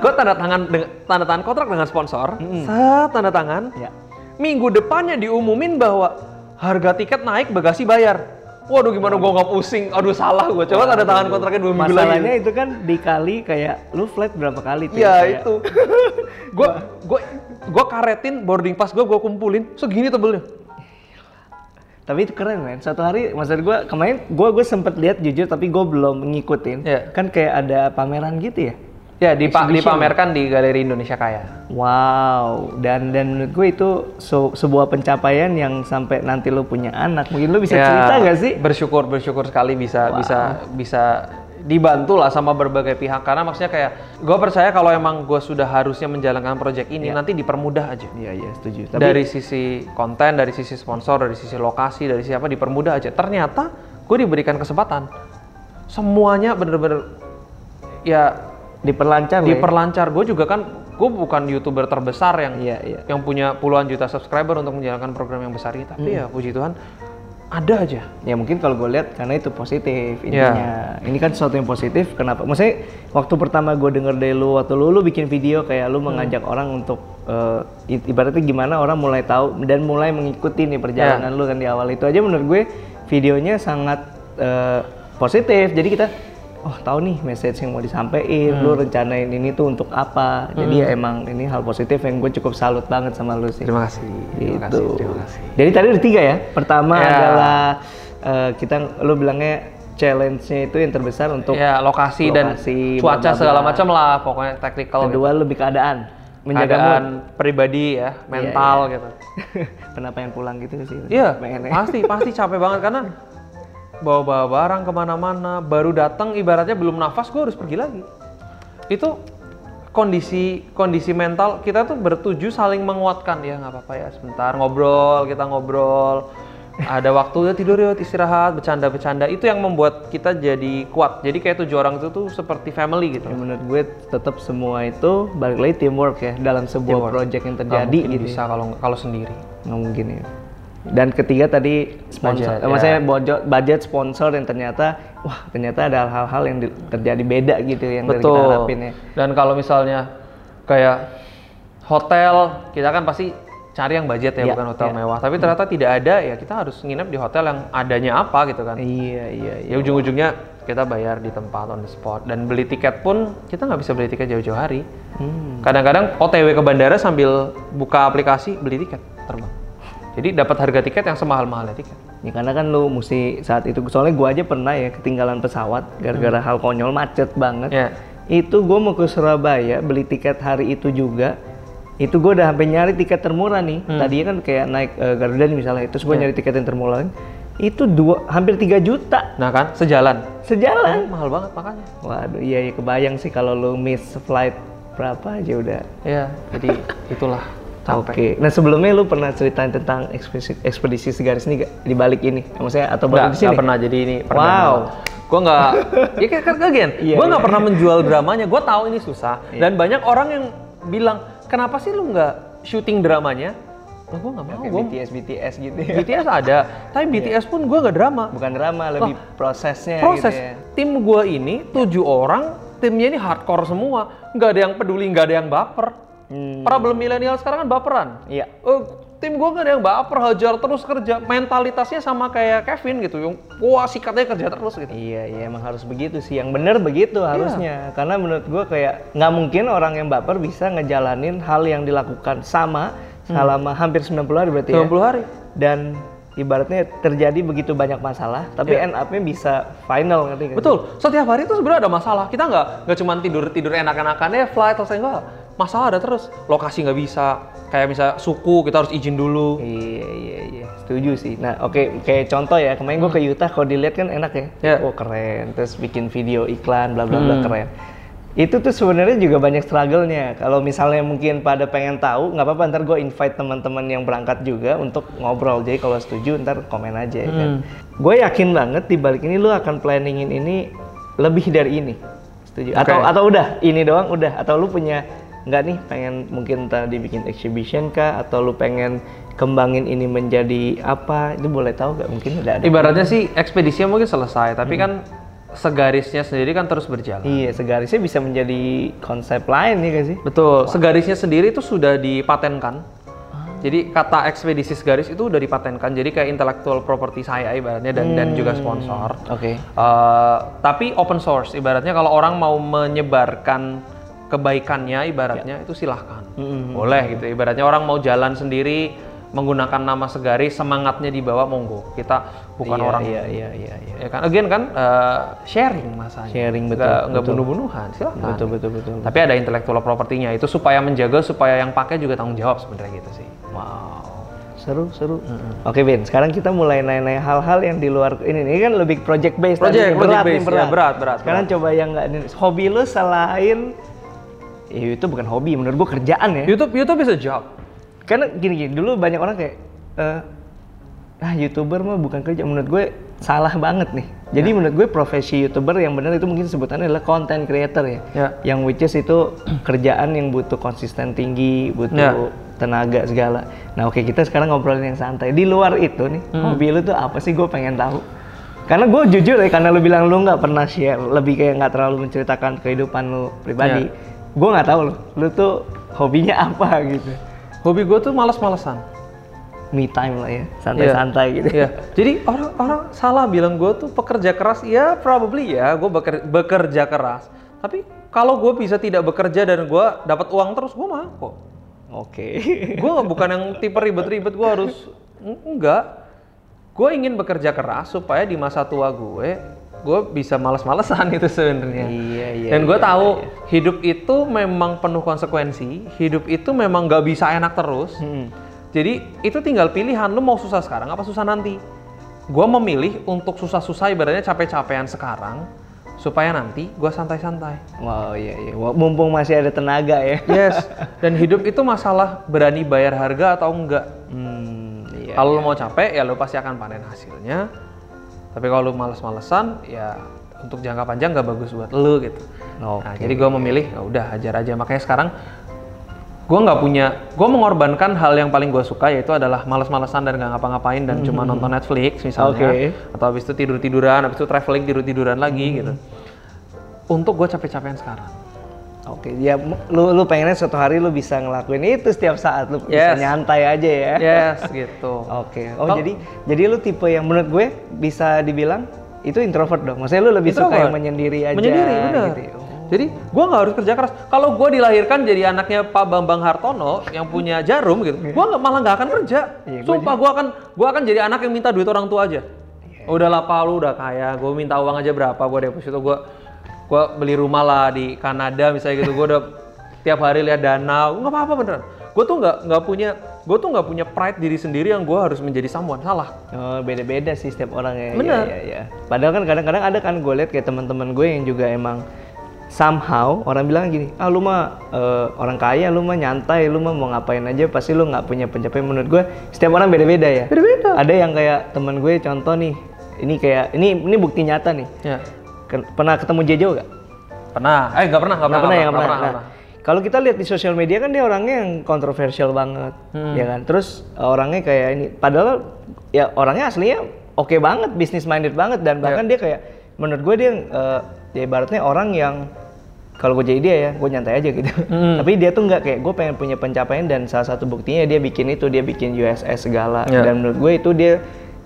Speaker 2: gue tanda tangan deng- tanda tangan kontrak dengan sponsor, set tanda tangan.
Speaker 1: Ya.
Speaker 2: Minggu depannya diumumin bahwa harga tiket naik, bagasi bayar. Waduh gimana gue nggak pusing? Aduh salah gue. Coba tanda tangan kontraknya dua minggu lagi.
Speaker 1: Masalahnya itu kan dikali kayak lu flat berapa kali tuh?
Speaker 2: Iya
Speaker 1: kayak-
Speaker 2: itu. Gue gue gue karetin boarding pass gue gue kumpulin segini tebelnya.
Speaker 1: Tapi itu keren men. Satu hari maksud gua kemarin gua gue sempet lihat jujur tapi gua belum ngikutin.
Speaker 2: Iya.
Speaker 1: Kan kayak ada pameran gitu ya.
Speaker 2: Ya dipa-
Speaker 1: Exhibition.
Speaker 2: dipamerkan di Galeri Indonesia Kaya.
Speaker 1: Wow, dan dan menurut gue itu se- sebuah pencapaian yang sampai nanti lu punya anak. Mungkin lu bisa
Speaker 2: Ya,
Speaker 1: cerita gak sih?
Speaker 2: Bersyukur bersyukur sekali bisa bisa bisa dibantu lah sama berbagai pihak karena maksudnya kayak gue percaya kalau emang gue sudah harusnya menjalankan proyek ini nanti dipermudah aja
Speaker 1: Iya iya setuju. Ya. Tapi
Speaker 2: dari sisi konten dari sisi sponsor dari sisi lokasi dari siapa dipermudah aja ternyata gue diberikan kesempatan semuanya bener-bener ya
Speaker 1: diperlancar lah ya.
Speaker 2: diperlancar gue juga kan gue bukan youtuber terbesar yang
Speaker 1: Iya iya.
Speaker 2: yang punya puluhan juta subscriber untuk menjalankan program yang besar ini tapi ya puji Tuhan ada aja
Speaker 1: Ya mungkin kalau gue lihat karena itu positif intinya. Ini kan sesuatu yang positif. Kenapa? Maksudnya waktu pertama gue denger dari lu waktu lu, lu bikin video kayak lu mengajak orang untuk eh, i- ibaratnya gimana orang mulai tahu dan mulai mengikuti nih perjalanan lu kan di awal itu aja menurut gue videonya sangat eh, positif. Jadi kita oh tahu nih message yang mau disampaikan, lu rencanain ini tuh untuk apa. Jadi ya emang ini hal positif yang gue cukup salut banget sama lu sih.
Speaker 2: terima kasih terima kasih
Speaker 1: Gitu.
Speaker 2: terima kasih
Speaker 1: Jadi tadi ada tiga ya. Pertama
Speaker 2: Ya.
Speaker 1: adalah eh, kita lo bilangnya challenge-nya itu yang terbesar untuk
Speaker 2: ya
Speaker 1: Lokasi,
Speaker 2: lokasi, dan cuaca
Speaker 1: bla-bla-bla.
Speaker 2: segala macam lah pokoknya technical gitu.
Speaker 1: kedua lebih keadaan menjaga
Speaker 2: keadaan
Speaker 1: mood. Iya,
Speaker 2: pribadi ya mental gitu
Speaker 1: Kenapa yang pulang gitu sih?
Speaker 2: iya
Speaker 1: pengen ya.
Speaker 2: pasti pasti capek banget karena bawa-bawa barang kemana-mana, baru datang ibaratnya belum nafas, gue harus pergi lagi. Itu kondisi kondisi mental kita tuh bertuju saling menguatkan ya nggak apa-apa ya sebentar ngobrol kita ngobrol ada waktu ya tidur yuk istirahat bercanda-bercanda itu yang membuat kita jadi kuat jadi kayak tujuh orang itu tuh seperti family gitu
Speaker 1: Ya, menurut gue tetap semua itu balik lagi teamwork ya dalam sebuah
Speaker 2: Teamwork.
Speaker 1: project yang
Speaker 2: Nggak
Speaker 1: terjadi
Speaker 2: mungkin
Speaker 1: gitu.
Speaker 2: bisa kalau kalau sendiri
Speaker 1: Nggak mungkin ya. Dan ketiga tadi sponsor, eh,
Speaker 2: Budget, ya.
Speaker 1: maksudnya bojo- budget sponsor yang ternyata wah ternyata ada hal-hal yang di- terjadi beda gitu yang dari kita
Speaker 2: Betul.
Speaker 1: harapin ya.
Speaker 2: Dan kalau misalnya kayak hotel, kita kan pasti cari yang budget ya,
Speaker 1: Iya,
Speaker 2: bukan hotel mewah. Tapi ternyata tidak ada, ya kita harus nginep di hotel yang adanya apa gitu kan.
Speaker 1: Iya iya iya.
Speaker 2: Ya ujung-ujungnya kita bayar di tempat on the spot dan beli tiket pun kita nggak bisa beli tiket jauh-jauh hari.
Speaker 1: Hmm.
Speaker 2: Kadang-kadang OTW ke bandara sambil buka aplikasi beli tiket terbang. Jadi dapat harga tiket yang semahal-mahalnya tiket.
Speaker 1: Ya, karena kan lu mesti saat itu soalnya gua aja pernah ya ketinggalan pesawat gara-gara
Speaker 2: Hmm.
Speaker 1: hal konyol macet banget.
Speaker 2: Ya.
Speaker 1: Itu gua mau ke Surabaya beli tiket hari itu juga. Itu gua udah sampai nyari tiket termurah nih.
Speaker 2: Hmm.
Speaker 1: Tadinya kan kayak naik eh, Garuda nih misalnya, terus gua nyari tiket yang termurah. lagi. Itu dua hampir 3 juta
Speaker 2: Nah kan, sejalan.
Speaker 1: sejalan.
Speaker 2: Mahal banget makanya.
Speaker 1: Waduh, iya, iya kebayang sih kalau lu miss flight berapa aja udah.
Speaker 2: Ya, jadi itulah capek.
Speaker 1: Oke. Nah sebelumnya lu pernah ceritain tentang ekspedisi, ekspedisi segaris ini nggak? di balik ini, maksudnya atau baru
Speaker 2: Nggak,
Speaker 1: di sini?
Speaker 2: nggak pernah jadi ini perdana.
Speaker 1: Wow.
Speaker 2: Gue nggak, ya kan kan again,
Speaker 1: Iya,
Speaker 2: gue nggak
Speaker 1: iya.
Speaker 2: pernah menjual dramanya. Gue tahu ini susah. Dan banyak orang yang bilang, kenapa sih lu nggak syuting dramanya? Lah gue nggak mau.
Speaker 1: Kayak
Speaker 2: Oh, Gua-
Speaker 1: BTS BTS gitu ya.
Speaker 2: BTS ada, tapi BTS pun gue nggak drama.
Speaker 1: Iya. Bukan drama, lebih prosesnya
Speaker 2: Proses
Speaker 1: gitu ya.
Speaker 2: tim gue ini tujuh orang, timnya ini hardcore semua. Nggak ada yang peduli, nggak ada yang baper.
Speaker 1: Hmm.
Speaker 2: Problem milenial sekarang kan baperan.
Speaker 1: Iya.
Speaker 2: Eh, tim gue gak ada yang baper, hajar terus kerja. Mentalitasnya sama kayak Kevin gitu. Yang, wah sikatnya kerja terus gitu.
Speaker 1: Iya, iya emang harus begitu sih. Yang bener
Speaker 2: Iya.
Speaker 1: begitu harusnya. Karena menurut gua kayak nggak mungkin orang yang baper bisa ngejalanin hal yang dilakukan sama
Speaker 2: Hmm.
Speaker 1: selama hampir 90 hari berarti ya.
Speaker 2: 90 hari.
Speaker 1: Dan ibaratnya terjadi begitu banyak masalah, tapi end up-nya bisa final ngerti nggak sih?
Speaker 2: Iya. Betul. Setiap hari itu sebenarnya ada masalah. Kita nggak nggak cuma tidur tidur enak-enakan ya flight selesai enggak. Masalah ada terus. Lokasi nggak bisa. Kayak misalnya suku kita harus izin dulu.
Speaker 1: Iya iya iya, setuju sih. Nah oke kayak contoh ya kemarin gue ke Utah kalau dilihat kan enak ya,
Speaker 2: Hmm. Iya.
Speaker 1: oh keren, terus bikin video iklan bla bla bla keren. Itu tuh sebenarnya juga banyak struggle-nya. Kalau misalnya mungkin pada pengen tahu, nggak apa-apa ntar gue invite teman-teman yang berangkat juga untuk ngobrol. Jadi kalau setuju ntar komen aja. Ya, kan? Gue yakin banget di balik ini lu akan planningin ini lebih dari ini. Setuju? Atau
Speaker 2: Oke.
Speaker 1: atau udah ini doang udah atau lu punya nggak nih pengen mungkin tadi bikin exhibition kah atau lu pengen kembangin ini menjadi apa itu boleh tahu nggak mungkin udah ada
Speaker 2: Ibaratnya sih ekspedisinya mungkin selesai, tapi kan segarisnya sendiri kan terus berjalan.
Speaker 1: iya segarisnya bisa menjadi konsep lain ya guys sih
Speaker 2: Betul. Segarisnya sendiri itu sudah dipatenkan. Jadi kata ekspedisi segaris itu udah dipatenkan. Jadi kayak intellectual property saya ibaratnya dan dan juga sponsor.
Speaker 1: oke
Speaker 2: Eh, tapi open source ibaratnya kalau orang mau menyebarkan kebaikannya ibaratnya
Speaker 1: Ya.
Speaker 2: itu silahkan boleh gitu ibaratnya orang mau jalan sendiri menggunakan nama segaris semangatnya dibawa monggo kita bukan
Speaker 1: Iya,
Speaker 2: orang
Speaker 1: iya iya iya iya
Speaker 2: ya kan again kan eh, sharing masanya
Speaker 1: Sharing, betul,
Speaker 2: nggak nggak
Speaker 1: betul.
Speaker 2: bunuh-bunuhan silahkan
Speaker 1: betul betul betul
Speaker 2: tapi ada intellectual propertinya itu supaya menjaga supaya yang pakai juga tanggung jawab sebenarnya gitu sih
Speaker 1: wow seru seru oke Bin sekarang kita mulai nanya-nanya hal-hal yang di luar ini ini kan lebih project based
Speaker 2: Project-
Speaker 1: nih, berat
Speaker 2: project
Speaker 1: nih,
Speaker 2: based, ya, berat, berat,
Speaker 1: sekarang coba yang nggak hobi lu selain ya itu bukan hobi menurut gua kerjaan ya
Speaker 2: YouTube YouTube is a job
Speaker 1: karena gini gini dulu banyak orang kayak eh ah youtuber mah bukan kerja menurut gue salah banget nih jadi
Speaker 2: Ya.
Speaker 1: menurut gue profesi youtuber yang benar itu mungkin sebutannya adalah content creator ya
Speaker 2: Ya.
Speaker 1: yang which is itu kerjaan yang butuh konsisten tinggi butuh
Speaker 2: Ya.
Speaker 1: tenaga segala nah oke kita sekarang ngobrolin yang santai di luar itu nih
Speaker 2: Hmm.
Speaker 1: hobi lu tuh apa sih gue pengen tahu karena gue jujur ya karena lu bilang lu nggak pernah share lebih kayak nggak terlalu menceritakan kehidupan lu pribadi
Speaker 2: Ya.
Speaker 1: gue nggak tahu lu lu tuh hobinya apa gitu
Speaker 2: hobi gue tuh malas-malasan
Speaker 1: me time lah ya santai-santai gitu
Speaker 2: Iya. Jadi orang orang salah bilang gue tuh pekerja keras. Ya probably ya, gue beker- bekerja keras. Tapi kalau gue bisa tidak bekerja dan gue dapat uang terus, gue mau kok.
Speaker 1: oke
Speaker 2: Gue bukan yang tipe ribet-ribet. Gue harus Eng- enggak. Gue ingin bekerja keras supaya di masa tua gue, gue bisa malas-malesan itu sebenarnya.
Speaker 1: iya iya
Speaker 2: Dan gue tahu hidup itu memang penuh konsekuensi. Hidup itu memang nggak bisa enak terus.
Speaker 1: Hmm.
Speaker 2: Jadi itu tinggal pilihan lu mau susah sekarang apa susah nanti. gue memilih untuk susah-susah ibaratnya capek-capean sekarang supaya nanti gue santai-santai.
Speaker 1: Wow, iya iya. Wah, Mumpung masih ada tenaga ya.
Speaker 2: Yes. Dan hidup itu masalah berani bayar harga atau enggak.
Speaker 1: Hmm, iya.
Speaker 2: Kalau lu mau capek ya lu pasti akan panen hasilnya. Tapi kalau lu males-malesan ya untuk jangka panjang nggak bagus buat lu gitu.
Speaker 1: Oke.
Speaker 2: Nah, jadi gue memilih "Ya udah hajar aja. Makanya sekarang gue nggak punya, gue mengorbankan hal yang paling gue suka yaitu adalah males-malesan dan nggak ngapa-ngapain dan cuma nonton Netflix misalnya,
Speaker 1: Hmm. Oke. Hmm.
Speaker 2: atau habis itu tidur tiduran, habis itu traveling tidur tiduran lagi gitu. Untuk gue capek-capean sekarang.
Speaker 1: Oke, ya mu- lu lu pengennya suatu hari lu bisa ngelakuin itu setiap saat lu bisa
Speaker 2: Yes.
Speaker 1: nyantai aja ya.
Speaker 2: Yes gitu.
Speaker 1: Oke. Oh,
Speaker 2: Kalau-
Speaker 1: jadi jadi lu tipe yang menurut gue bisa dibilang itu introvert dong. Maksudnya lu lebih suka
Speaker 2: Introvert.
Speaker 1: yang menyendiri aja
Speaker 2: Menyendiri, benar.
Speaker 1: gitu ya.
Speaker 2: Jadi gua nggak harus kerja keras. Kalau gua dilahirkan jadi anaknya Pak Bambang Hartono yang punya jarum gitu, gua nggak malah nggak akan kerja.
Speaker 1: Iya, gua
Speaker 2: Sumpah gua akan gua akan jadi anak yang minta duit orang tua aja.
Speaker 1: Iya.
Speaker 2: Udah lapa lu udah kaya, gua minta uang aja berapa, gua deposito gua gua beli rumah lah di Kanada misalnya gitu. Gua udah tiap hari lihat danau, nggak apa-apa beneran. Gua tuh nggak nggak punya gua tuh nggak punya pride diri sendiri yang gua harus menjadi someone. Salah.
Speaker 1: Oh, beda-beda sih setiap orang ya.
Speaker 2: Benar.
Speaker 1: Ya, ya, ya. Padahal kan kadang-kadang ada kan gue lihat kayak teman-teman gue yang juga emang somehow orang bilang gini, ah lu mah eh, orang kaya, lu mah nyantai, lu mah mau ngapain aja pasti lu nggak punya pencapaian. Menurut gue setiap orang beda-beda ya.
Speaker 2: Beda-beda.
Speaker 1: Ada yang kayak teman gue contoh nih, ini kayak ini ini bukti nyata nih.
Speaker 2: Ya.
Speaker 1: Ken- Pernah ketemu Jejo gak?
Speaker 2: Pernah. Eh nggak pernah, nggak
Speaker 1: Nggak
Speaker 2: pernah,
Speaker 1: pernah ya,
Speaker 2: nggak
Speaker 1: nggak pernah.
Speaker 2: nggak
Speaker 1: Nah, kalau kita lihat di sosial media kan dia orangnya yang kontroversial banget,
Speaker 2: Hmm.
Speaker 1: ya kan. Terus eh, orangnya kayak ini, padahal ya orangnya aslinya oke banget, business minded banget
Speaker 2: Ya.
Speaker 1: dan bahkan dia kayak, menurut gue dia eh, ya ibaratnya orang yang kalau gue jadi dia ya, gue nyantai aja gitu.
Speaker 2: Hmm.
Speaker 1: Tapi dia tuh nggak kayak gue pengen punya pencapaian dan salah satu buktinya dia bikin itu, dia bikin USS segala.
Speaker 2: Ya.
Speaker 1: Dan menurut gue itu dia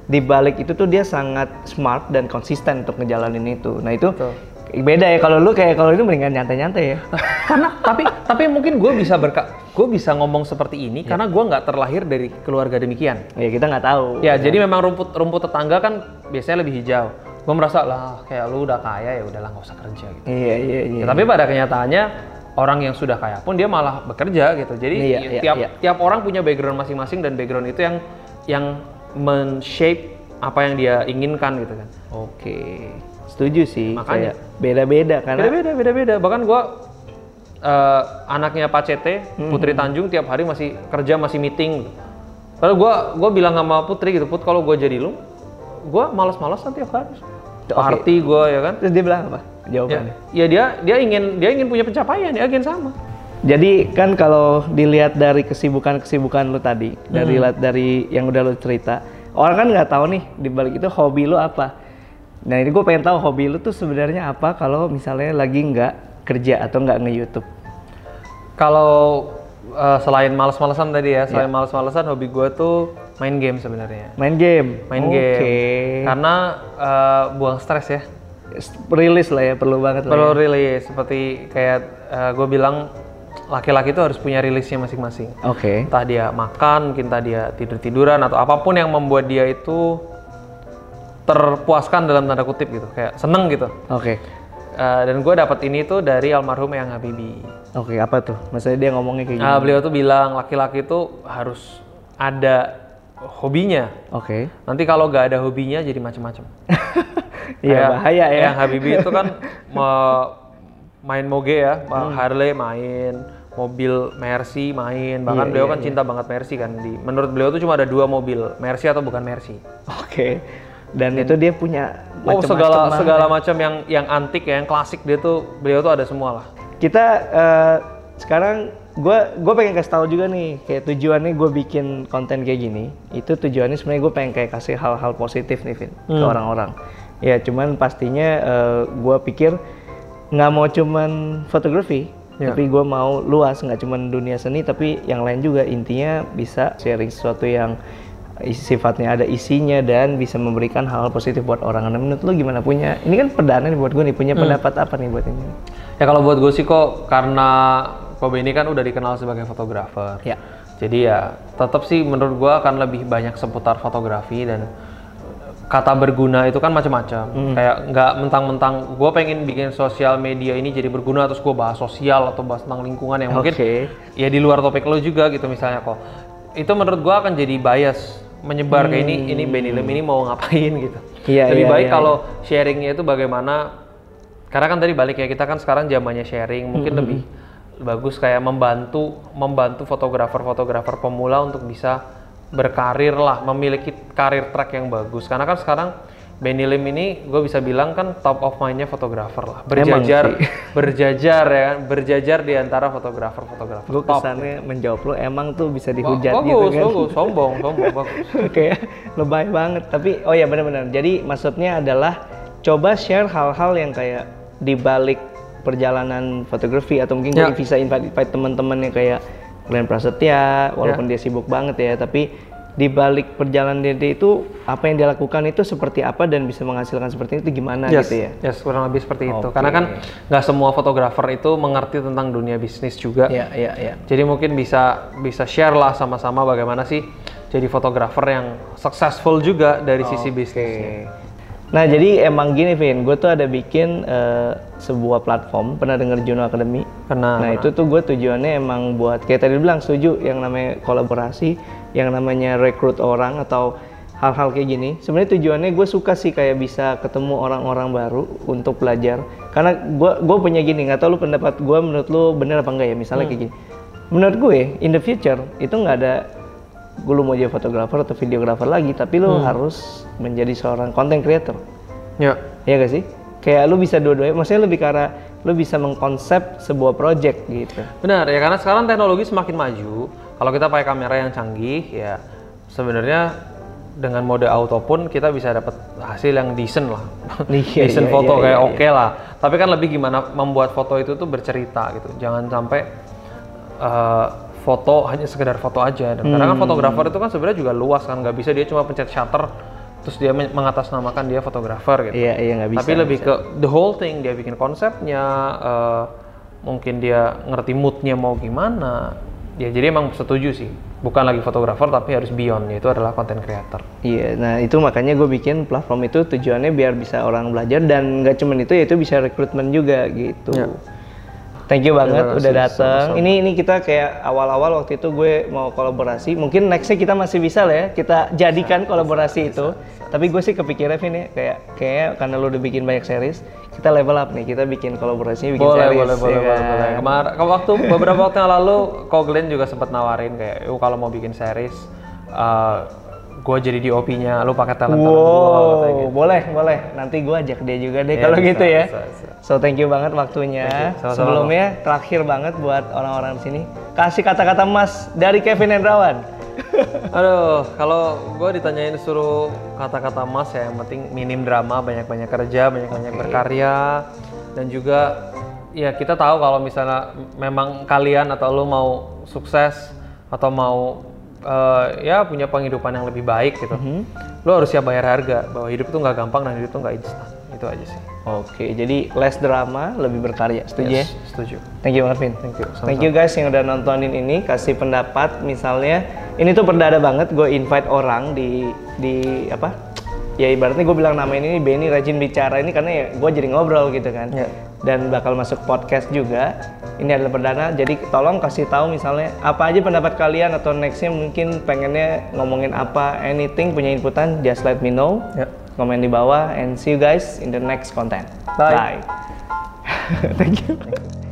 Speaker 1: di balik itu tuh dia sangat smart dan konsisten untuk ngejalanin itu. Nah itu
Speaker 2: Betul.
Speaker 1: beda ya kalau lu kayak kalau itu mendingan nyantai-nyantai ya.
Speaker 2: karena tapi tapi mungkin gue bisa berka gue bisa ngomong seperti ini
Speaker 1: Iya.
Speaker 2: karena gue nggak terlahir dari keluarga demikian
Speaker 1: Ya kita nggak tahu.
Speaker 2: ya jadi memang rumput rumput tetangga kan biasanya lebih hijau gue merasa lah kayak lu udah kaya ya udahlah nggak usah kerja gitu
Speaker 1: Iya iya iya.
Speaker 2: Ya, tapi pada kenyataannya orang yang sudah kaya pun dia malah bekerja gitu jadi
Speaker 1: Iya,
Speaker 2: i-
Speaker 1: iya,
Speaker 2: tiap
Speaker 1: iya.
Speaker 2: tiap orang punya background masing-masing dan background itu yang yang men-shape apa yang dia inginkan gitu kan
Speaker 1: Oke. Setuju sih.
Speaker 2: Makanya.
Speaker 1: kayak Beda-beda karena
Speaker 2: Beda-beda, beda-beda. Bahkan gua eh, anaknya Pak Cete,
Speaker 1: Hmm.
Speaker 2: Putri Tanjung tiap hari masih kerja, masih meeting. Lalu gua gua bilang sama Putri gitu, Put kalau gua jadi lu, gua malas-malasan tiap hari.
Speaker 1: Oke. Iya.
Speaker 2: Party gua ya kan.
Speaker 1: terus dia bilang apa?
Speaker 2: Ya,
Speaker 1: Jawabannya.
Speaker 2: ya dia dia ingin dia ingin punya pencapaian, dia ingin sama.
Speaker 1: Jadi kan kalau dilihat dari kesibukan-kesibukan lu tadi, dari
Speaker 2: Hmm.
Speaker 1: dari yang udah lu cerita, orang kan nggak tahu nih di balik itu hobi lu apa. Nah ini gue pengen tahu hobi lu tuh sebenarnya apa kalau misalnya lagi nggak kerja atau nggak nge YouTube.
Speaker 2: Kalau eh, selain malas-malasan tadi ya, selain
Speaker 1: Iya.
Speaker 2: malas-malasan hobi gua tuh main game sebenarnya.
Speaker 1: Main game.
Speaker 2: Main
Speaker 1: Oke.
Speaker 2: game. Karena eh, buang stres ya.
Speaker 1: Rilis lah ya perlu banget lah.
Speaker 2: Perlu rilis seperti kayak gue bilang laki-laki itu harus punya rilisnya masing-masing.
Speaker 1: Oke.
Speaker 2: Entah dia makan, mungkin entah dia tidur-tiduran atau apapun yang membuat dia itu terpuaskan dalam tanda kutip gitu, kayak seneng gitu.
Speaker 1: Oke.
Speaker 2: Eh, dan gue dapat ini tuh dari almarhum yang Habibie.
Speaker 1: Oke, apa tuh? Maksudnya dia ngomongnya kayak gini.
Speaker 2: Ah, beliau tuh bilang laki-laki itu harus ada hobinya.
Speaker 1: Oke.
Speaker 2: Nanti kalau nggak ada hobinya jadi macam-macam.
Speaker 1: Iya,
Speaker 2: Kayak-
Speaker 1: bahaya ya.
Speaker 2: Yang Habibie itu kan me- main moge ya, Bang Harley main, mobil Mercy main. Bahkan beliau kan cinta banget Mercy kan. Di, menurut beliau tuh cuma ada dua mobil, Mercy atau bukan Mercy.
Speaker 1: Oke. Dan itu dia punya
Speaker 2: Oh
Speaker 1: macam-macam
Speaker 2: segala
Speaker 1: lah.
Speaker 2: segala macam yang yang antik ya, yang klasik dia tuh beliau tuh ada semua lah.
Speaker 1: Kita eh, sekarang gue gue pengen kasih tahu juga nih kayak tujuannya gue bikin konten kayak gini itu tujuannya sebenarnya gue pengen kayak kasih hal-hal positif nih Vin ke orang-orang ya cuman pastinya gue pikir nggak mau cuman fotografi
Speaker 2: Iya.
Speaker 1: tapi gue mau luas nggak cuman dunia seni tapi yang lain juga intinya bisa sharing sesuatu yang isi- sifatnya ada isinya dan bisa memberikan hal-hal positif buat orang. Nah, menurut lu gimana punya? Ini kan perdana nih buat gue nih punya pendapat apa nih buat ini?
Speaker 2: Ya kalau buat gue sih kok karena Kobe ini kan udah dikenal sebagai fotografer.
Speaker 1: Ya.
Speaker 2: Jadi ya tetap sih menurut gua akan lebih banyak seputar fotografi dan kata berguna itu kan macam-macam.
Speaker 1: Hmm.
Speaker 2: Kayak nggak mentang-mentang gua pengen bikin sosial media ini jadi berguna terus gua bahas sosial atau bahas tentang lingkungan yang mungkin
Speaker 1: Oke.
Speaker 2: ya di luar topik lo juga gitu misalnya kok. Itu menurut gua akan jadi bias menyebar kayak ini ini Benilem ini mau ngapain gitu.
Speaker 1: Hmm. Iya,
Speaker 2: Lebih
Speaker 1: iya,
Speaker 2: baik
Speaker 1: iya,
Speaker 2: kalau sharingnya itu bagaimana karena kan tadi balik ya kita kan sekarang zamannya sharing mungkin lebih bagus kayak membantu membantu fotografer-fotografer pemula untuk bisa berkarir lah memiliki karir track yang bagus karena kan sekarang Benny Lim ini gue bisa bilang kan top of mind-nya fotografer lah
Speaker 1: Emang
Speaker 2: berjajar berjajar ya kan berjajar di antara fotografer-fotografer
Speaker 1: Gue
Speaker 2: top
Speaker 1: kesannya menjawab lo emang tuh bisa
Speaker 2: Ba-
Speaker 1: dihujat
Speaker 2: bagus,
Speaker 1: gitu kan.
Speaker 2: bagus, sombong, sombong, bagus.
Speaker 1: Kayak lebay banget. Tapi oh ya benar-benar. Jadi maksudnya adalah coba share hal-hal yang kayak di balik perjalanan fotografi atau mungkin
Speaker 2: Ya.
Speaker 1: gue bisa invite, invite teman-teman yang kayak Glenn Prasetya walaupun dia sibuk banget ya, tapi di balik perjalanan dia, dia itu apa yang dia lakukan itu seperti apa dan bisa menghasilkan seperti itu gimana
Speaker 2: Yes,
Speaker 1: gitu ya.
Speaker 2: yes, kurang lebih seperti itu. Karena kan nggak semua fotografer itu mengerti tentang dunia bisnis juga.
Speaker 1: Iya, iya, iya.
Speaker 2: Jadi mungkin bisa bisa share lah sama-sama bagaimana sih jadi fotografer yang successful juga dari sisi bisnisnya.
Speaker 1: Nah jadi emang gini Vin, gue tuh ada bikin eh, sebuah platform, pernah denger Juno Academy?
Speaker 2: Pernah,
Speaker 1: Nah itu tuh gue tujuannya emang buat, kayak tadi lu bilang setuju, yang namanya kolaborasi, yang namanya rekrut orang atau hal-hal kayak gini. Sebenarnya tujuannya gue suka sih kayak bisa ketemu orang-orang baru untuk belajar. Karena gue gue punya gini, nggak tahu lu pendapat gue menurut lu bener apa enggak ya misalnya kayak gini. Menurut gue, in the future itu nggak ada gue lu mau jadi fotografer atau videografer lagi tapi lu harus menjadi seorang content creator
Speaker 2: Ya.
Speaker 1: ya gak sih kayak lu bisa dua-duanya maksudnya lebih ke arah lu bisa mengkonsep sebuah project gitu
Speaker 2: Benar ya karena sekarang teknologi semakin maju. Kalau kita pakai kamera yang canggih ya sebenarnya dengan mode auto pun kita bisa dapat hasil yang decent lah.
Speaker 1: Iya, iya,
Speaker 2: decent foto
Speaker 1: iya,
Speaker 2: kayak
Speaker 1: iya,
Speaker 2: oke lah. Tapi kan lebih gimana membuat foto itu tuh bercerita gitu. Jangan sampai eh, foto hanya sekedar foto aja. Dan Karena
Speaker 1: Hmm.
Speaker 2: kan fotografer itu kan sebenarnya juga luas kan nggak bisa dia cuma pencet shutter terus dia men- mengatasnamakan dia fotografer gitu.
Speaker 1: iya iya nggak bisa
Speaker 2: Tapi lebih ke the whole thing dia bikin konsepnya, eh, mungkin dia ngerti moodnya mau gimana. Ya jadi emang setuju sih, bukan lagi fotografer tapi harus beyond yaitu adalah content creator.
Speaker 1: Iya, nah itu makanya gue bikin platform itu tujuannya biar bisa orang belajar dan nggak cuman itu yaitu bisa rekrutmen juga gitu.
Speaker 2: Ya.
Speaker 1: Thank you banget udah datang. Ini ini kita kayak awal-awal waktu itu gue mau kolaborasi. Mungkin nextnya kita masih bisa lah ya kita jadikan kolaborasi itu. Tapi gue sih kepikirnya Vin ya kayak kayak karena lu udah bikin banyak series, kita level up nih. Kita bikin kolaborasinya bikin
Speaker 2: Boleh,
Speaker 1: series.
Speaker 2: boleh,
Speaker 1: ya
Speaker 2: boleh, boleh,
Speaker 1: kan?
Speaker 2: boleh. Kemar- ke waktu beberapa waktu yang lalu, Ko Glenn juga sempat nawarin kayak, "Yuk, kalau mau bikin series, gue jadi DOP-nya, lu pakai talent talent gua," katanya
Speaker 1: Wow, boleh, boleh. Nanti gue ajak dia juga deh kalau
Speaker 2: bisa,
Speaker 1: gitu ya.
Speaker 2: bisa, bisa.
Speaker 1: So thank you banget waktunya.
Speaker 2: Sama-sama.
Speaker 1: Sebelumnya terakhir banget buat orang-orang di sini kasih kata-kata emas dari Kevin Hendrawan.
Speaker 2: Aduh, kalau gue ditanyain suruh kata-kata emas ya, yang penting minim drama, banyak-banyak kerja, banyak-banyak berkarya, dan juga ya kita tahu kalau misalnya memang kalian atau lo mau sukses atau mau eh, ya punya penghidupan yang lebih baik gitu, lo harus siap bayar harga bahwa hidup itu nggak gampang dan hidup itu nggak instan, itu aja sih.
Speaker 1: Oke, jadi less drama, lebih berkarya. Setuju ya?
Speaker 2: Yes, Setuju.
Speaker 1: Thank you banget, Vin.
Speaker 2: Thank you.
Speaker 1: Thank you guys yang udah nontonin ini, kasih pendapat misalnya. Ini tuh perdana banget gue invite orang di di apa? Ya ibaratnya gue bilang nama ini Benny rajin bicara ini karena ya gue jadi ngobrol gitu kan.
Speaker 2: Ya.
Speaker 1: Dan bakal masuk podcast juga. Ini adalah perdana, jadi tolong kasih tahu misalnya apa aja pendapat kalian atau nextnya mungkin pengennya ngomongin apa, anything punya inputan, just let me know.
Speaker 2: Ya.
Speaker 1: Komen di bawah and see you guys in the next content.
Speaker 2: Bye.
Speaker 1: Bye. Thank you.